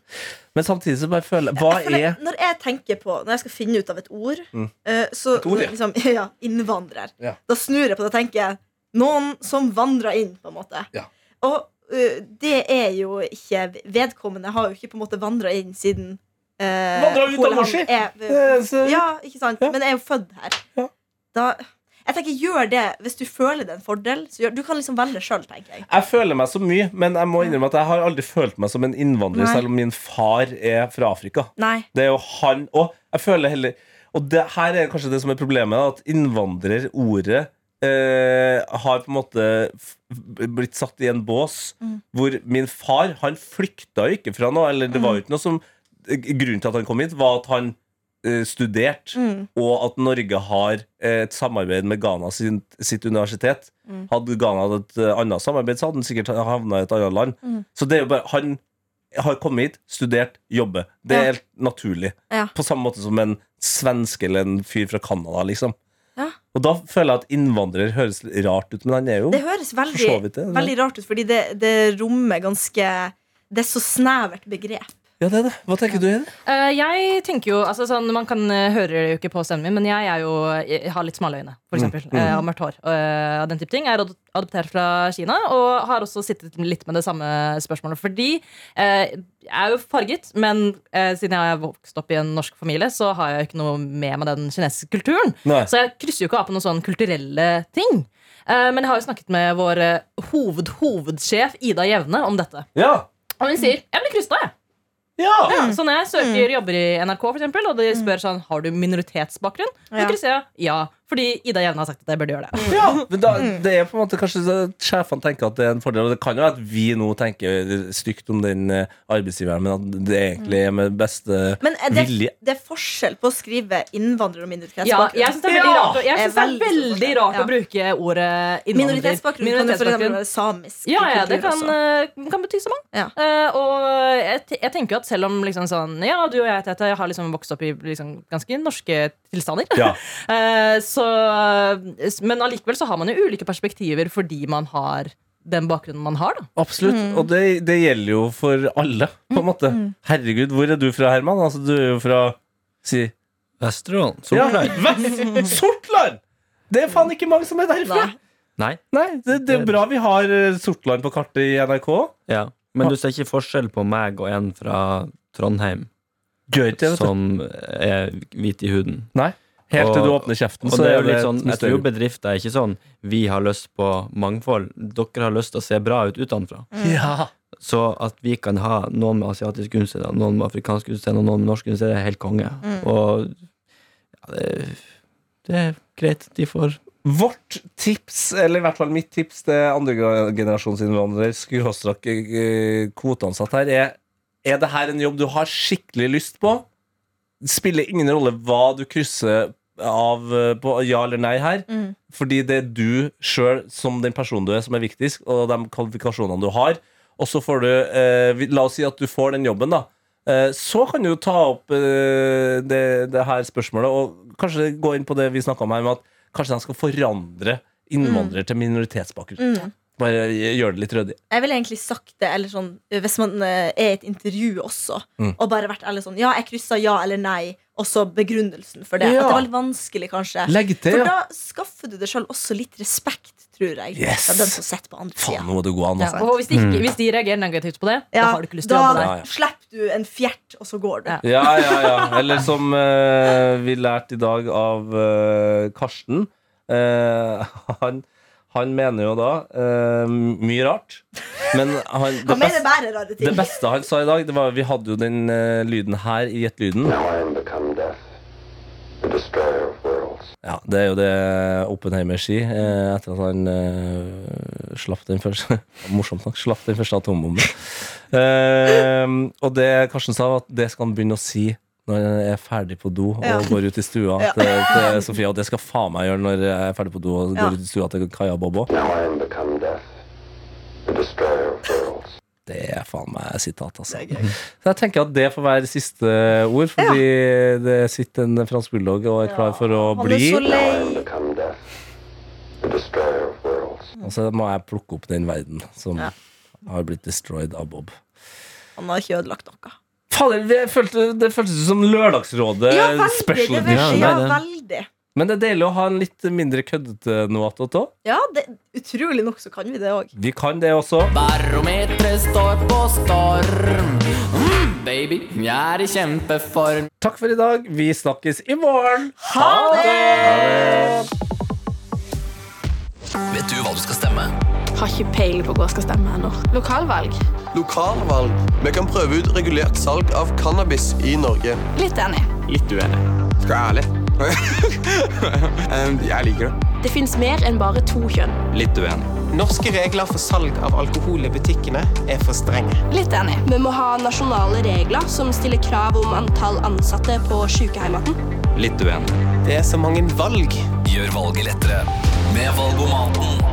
Speaker 2: Men samtidig så bare føler jeg Hva
Speaker 3: Mm. For det-
Speaker 2: er
Speaker 3: Når jeg tenker på Når jeg skal finne ut av et ord,
Speaker 2: Mm.
Speaker 3: eh, så
Speaker 2: Et ord, ja.
Speaker 3: liksom, ja, innvandrer,
Speaker 2: Ja.
Speaker 3: da snur jeg på det og tenker noen som vandrer inn, på en måte.
Speaker 2: Ja.
Speaker 3: Og eh, det er jo ikke Vedkommende har jo ikke på en måte vandra inn siden eh,
Speaker 2: Vandret ut av
Speaker 3: hun eller han
Speaker 2: Norsi. Eh,
Speaker 3: er- Ja, ikke sant?
Speaker 2: Ja.
Speaker 3: Men jeg er jo født her.
Speaker 2: Ja.
Speaker 3: Da, jeg tenker, gjør det Hvis du føler det er en fordel, så gjør, du kan liksom velge sjøl, tenker jeg.
Speaker 2: Jeg føler meg så mye, men jeg må innrømme at jeg har aldri følt meg som en innvandrer,
Speaker 3: Nei.
Speaker 2: selv om min far er fra Afrika.
Speaker 3: Nei.
Speaker 2: Det er jo han Og jeg føler heller Og det, her er kanskje det som er problemet, da, at innvandrerordet eh, har på en måte f- blitt satt i en bås hvor min far Han flykta jo ikke fra noe, eller det var jo ikke noe som eh, Grunnen til at han kom hit, var at han eh, studerte
Speaker 3: Mm.
Speaker 2: og at Norge har eh, et samarbeid med Ghana sin, sitt universitet.
Speaker 3: Mm.
Speaker 2: Hadde Ghana hatt et eh, annet samarbeid, så hadde han sikkert havna i et annet land.
Speaker 3: Mm.
Speaker 2: Så det er jo bare Han har kommet hit, studert, jobber. Det er
Speaker 3: Ja.
Speaker 2: helt naturlig.
Speaker 3: Ja.
Speaker 2: På samme måte som en svenske eller en fyr fra Canada, liksom.
Speaker 3: Ja.
Speaker 2: Og da føler jeg at innvandrer høres litt rart ut, men han er jo
Speaker 3: Det høres
Speaker 2: for så
Speaker 3: veldig,
Speaker 2: vidt det.
Speaker 3: veldig rart ut, fordi det, det rommer ganske Det er så snevert begrep.
Speaker 2: Ja, det er det. Hva tenker du, Ine?
Speaker 4: Eh, jeg tenker jo, altså sånn, Man kan eh, høre det jo ikke på stemmen min, men jeg, er jo, jeg har litt smale øyne. For eksempel, eh, og mørkt hår. eh, og den type ting. Jeg er ad- adoptert fra Kina og har også sittet litt med det samme spørsmålet. Fordi eh, jeg er jo farget, men eh, siden jeg har vokst opp i en norsk familie, så har jeg jo ikke noe med meg den kinesiske kulturen.
Speaker 2: Nei.
Speaker 4: Så jeg krysser jo ikke av på noen sånne kulturelle ting. Eh, men jeg har jo snakket med vår eh, hoved, hovedsjef Ida Jevne om dette.
Speaker 2: Ja!
Speaker 4: Og hun sier 'jeg blir kryssa', jeg.
Speaker 2: Ja!
Speaker 4: Ja, så når jeg søker jobber i NRK, for eksempel, og de spør sånn Har du minoritetsbakgrunn?
Speaker 3: Ja.
Speaker 4: Ja. jeg ja. Fordi Ida Jevne har sagt at jeg burde gjøre det.
Speaker 2: ja. Men da, det er på en måte kanskje så at sjefene tenker at det er en fordel, og det kan jo være at vi nå tenker stygt om den eh, arbeidsgiveren, men at det egentlig er med beste
Speaker 3: Men er det,
Speaker 2: Vilje.
Speaker 3: det er forskjell på å skrive innvandrer og
Speaker 4: Ja,
Speaker 3: minoritetsbakgrunn.
Speaker 4: jeg syns det er veldig
Speaker 2: Ja!
Speaker 4: rart, å- jeg synes det er
Speaker 3: Det er veldig
Speaker 4: veldig
Speaker 3: stor
Speaker 4: rart
Speaker 3: forskjell.
Speaker 4: å bruke ordet innvandrer.
Speaker 3: minoritetsbakgrunn kan jo for eksempel
Speaker 4: Minoritetsbakgrunn.
Speaker 3: være samisk.
Speaker 4: Ja, ja, det
Speaker 3: kultur
Speaker 4: kan,
Speaker 3: også.
Speaker 4: eh, kan bety så mangt.
Speaker 3: Ja.
Speaker 4: Eh, og jeg, te- jeg tenker jo at selv om liksom sånn, ja, du og jeg Tete, har liksom vokst opp i liksom ganske norske tilstander
Speaker 2: Ja.
Speaker 4: Eh, så, Men allikevel så har man jo ulike perspektiver fordi man har den bakgrunnen man har. da
Speaker 2: Absolutt, Mm. og det, det gjelder jo for alle, på en måte. Herregud, hvor er du fra, Herman? Altså, du er jo fra si,
Speaker 5: Vesterålen.
Speaker 2: ja,
Speaker 5: Sortland.
Speaker 2: Vest- Sortland! Det er faen ikke mange som er derfra! Nei,
Speaker 5: Nei.
Speaker 2: det, det er bra vi har eh, Sortland på kartet i NRK.
Speaker 5: Ja. Men du ser ikke forskjell på meg og en fra Trondheim
Speaker 2: Gjør ikke det, vet du.
Speaker 5: som er hvit i huden.
Speaker 2: Nei. Helt til du
Speaker 5: Sånn. Og-
Speaker 2: åpner kjeften,
Speaker 5: Og
Speaker 2: så
Speaker 5: det er
Speaker 2: er
Speaker 5: jo
Speaker 2: det
Speaker 5: litt sånn,
Speaker 2: et
Speaker 5: jeg tror jo
Speaker 2: mysterium.
Speaker 5: bedrifter er ikke sånn Vi har lyst på mangfold. Dere har lyst til å se bra ut utenfra.
Speaker 2: Ja.
Speaker 5: Så at vi kan ha noen med asiatisk utseende, noen med afrikansk utseende og noen med norsk utseende, det er helt konge. Og ja, det, det er greit. De får
Speaker 2: Vårt tips, eller i hvert fall mitt tips til andregenerasjonsinnvandrer, skråstrakk eh, kvoteansatt her, er Er det her en jobb du har skikkelig lyst på? Det spiller ingen rolle hva du krysser av eh, på ja eller nei her. Fordi det er du sjøl, som den personen du er, som er viktigst, og de kvalifikasjonene du har. Og så får du eh, vi- La oss si at du får den jobben, da. Eh, så kan du jo ta opp eh, det, det her spørsmålet, og kanskje gå inn på det vi snakka om her, med at kanskje de skal forandre innvandrere til minoritetsbakgrunn. Bare gjøre det litt ryddig.
Speaker 3: Jeg ville egentlig sagt det eller sånn, hvis man eh, er i et intervju også,
Speaker 2: Mm.
Speaker 3: og bare vært ærlig sånn Ja, jeg kryssa ja eller nei, og så begrunnelsen for det.
Speaker 2: Ja.
Speaker 3: At det var litt vanskelig, kanskje.
Speaker 2: Legg til,
Speaker 3: For
Speaker 2: ja.
Speaker 3: da skaffer du deg sjøl også litt respekt, tror jeg.
Speaker 2: Yes.
Speaker 3: Fra den som sitter på andre
Speaker 2: Faen,
Speaker 3: sida.
Speaker 2: nå må du gå an, altså.
Speaker 4: Og hvis de, ikke, hvis de reagerer negativt på det, da har du ikke lyst til å jobbe der.
Speaker 2: der.
Speaker 3: slipper du en fjert, og så går du.
Speaker 4: Ja.
Speaker 2: Ja, ja, ja. Eller som eh, vi lærte i dag av eh, Karsten. Eh, han, han mener jo da eh, mye rart. Men han, det,
Speaker 3: Han mener
Speaker 2: beste,
Speaker 3: bare rare
Speaker 2: det
Speaker 3: ting.
Speaker 2: beste han sa i dag, det var Vi hadde jo den eh, lyden her i Gjett-lyden.
Speaker 7: Now I am become death, the destroyer of worlds.
Speaker 2: Ja, det er jo det Oppenheimer sier eh, etter at han eh, slapp den første Morsomt nok. Slapp den første atombomben. Eh, og det Karsten sa, var at det skal han begynne å si når han er ferdig på do og
Speaker 3: Ja.
Speaker 2: går ut i stua
Speaker 3: Ja.
Speaker 2: til, til Sofia. Og det skal faen meg gjøre når jeg er ferdig på do og går
Speaker 3: Ja.
Speaker 2: ut i stua til Kaja og Bob òg.
Speaker 7: Now I am become death, the destroyer of worlds.
Speaker 2: Det er faen meg sitat, altså.
Speaker 3: Det er gøy.
Speaker 2: Så jeg tenker at det får være siste ord, fordi det sitter en fransk bulldog og er klar for å
Speaker 3: Han er
Speaker 2: bli.
Speaker 3: så
Speaker 7: Now I
Speaker 3: lei.
Speaker 7: am become death, the destroyer of worlds.
Speaker 2: Mm. Og så må jeg plukke opp den verden som
Speaker 3: Ja.
Speaker 2: har blitt destroyed av Bob.
Speaker 3: Han har ikke ødelagt noe.
Speaker 2: Fader, det føltes, det føltes ut som Lørdagsrådet
Speaker 4: Eh,
Speaker 3: Ja, veldig.
Speaker 2: special
Speaker 3: Det
Speaker 2: edition.
Speaker 3: var,
Speaker 5: edition.
Speaker 3: ja,
Speaker 5: Ja, det er
Speaker 3: veldig.
Speaker 2: Men det er deilig å ha en litt mindre køddete noe attåt òg.
Speaker 3: Ja, det, utrolig nok så kan vi det òg.
Speaker 2: Vi kan det også.
Speaker 8: Barometeret står på storm. Mm, baby, jeg er i kjempeform.
Speaker 2: Takk for i dag. Vi snakkes i morgen.
Speaker 1: Vet du hva du skal stemme?
Speaker 9: Har ikke peiling på hvor jeg skal stemme ennå. Lokalvalg.
Speaker 10: Lokalvalg. Vi kan prøve ut regulert salg av cannabis i Norge.
Speaker 9: Litt enig.
Speaker 10: Litt uenig. Skal jeg være ærlig? Em, jeg liker det.
Speaker 9: Det fins mer enn bare to kjønn.
Speaker 10: Litt uenig. Norske regler for salg av alkohol i butikkene er for strenge.
Speaker 9: Litt enig. Vi må ha nasjonale regler som stiller krav om antall ansatte på sykehjemmene.
Speaker 10: Litt uenig. Det er så mange valg.
Speaker 1: Gjør valget lettere med Valgomaten.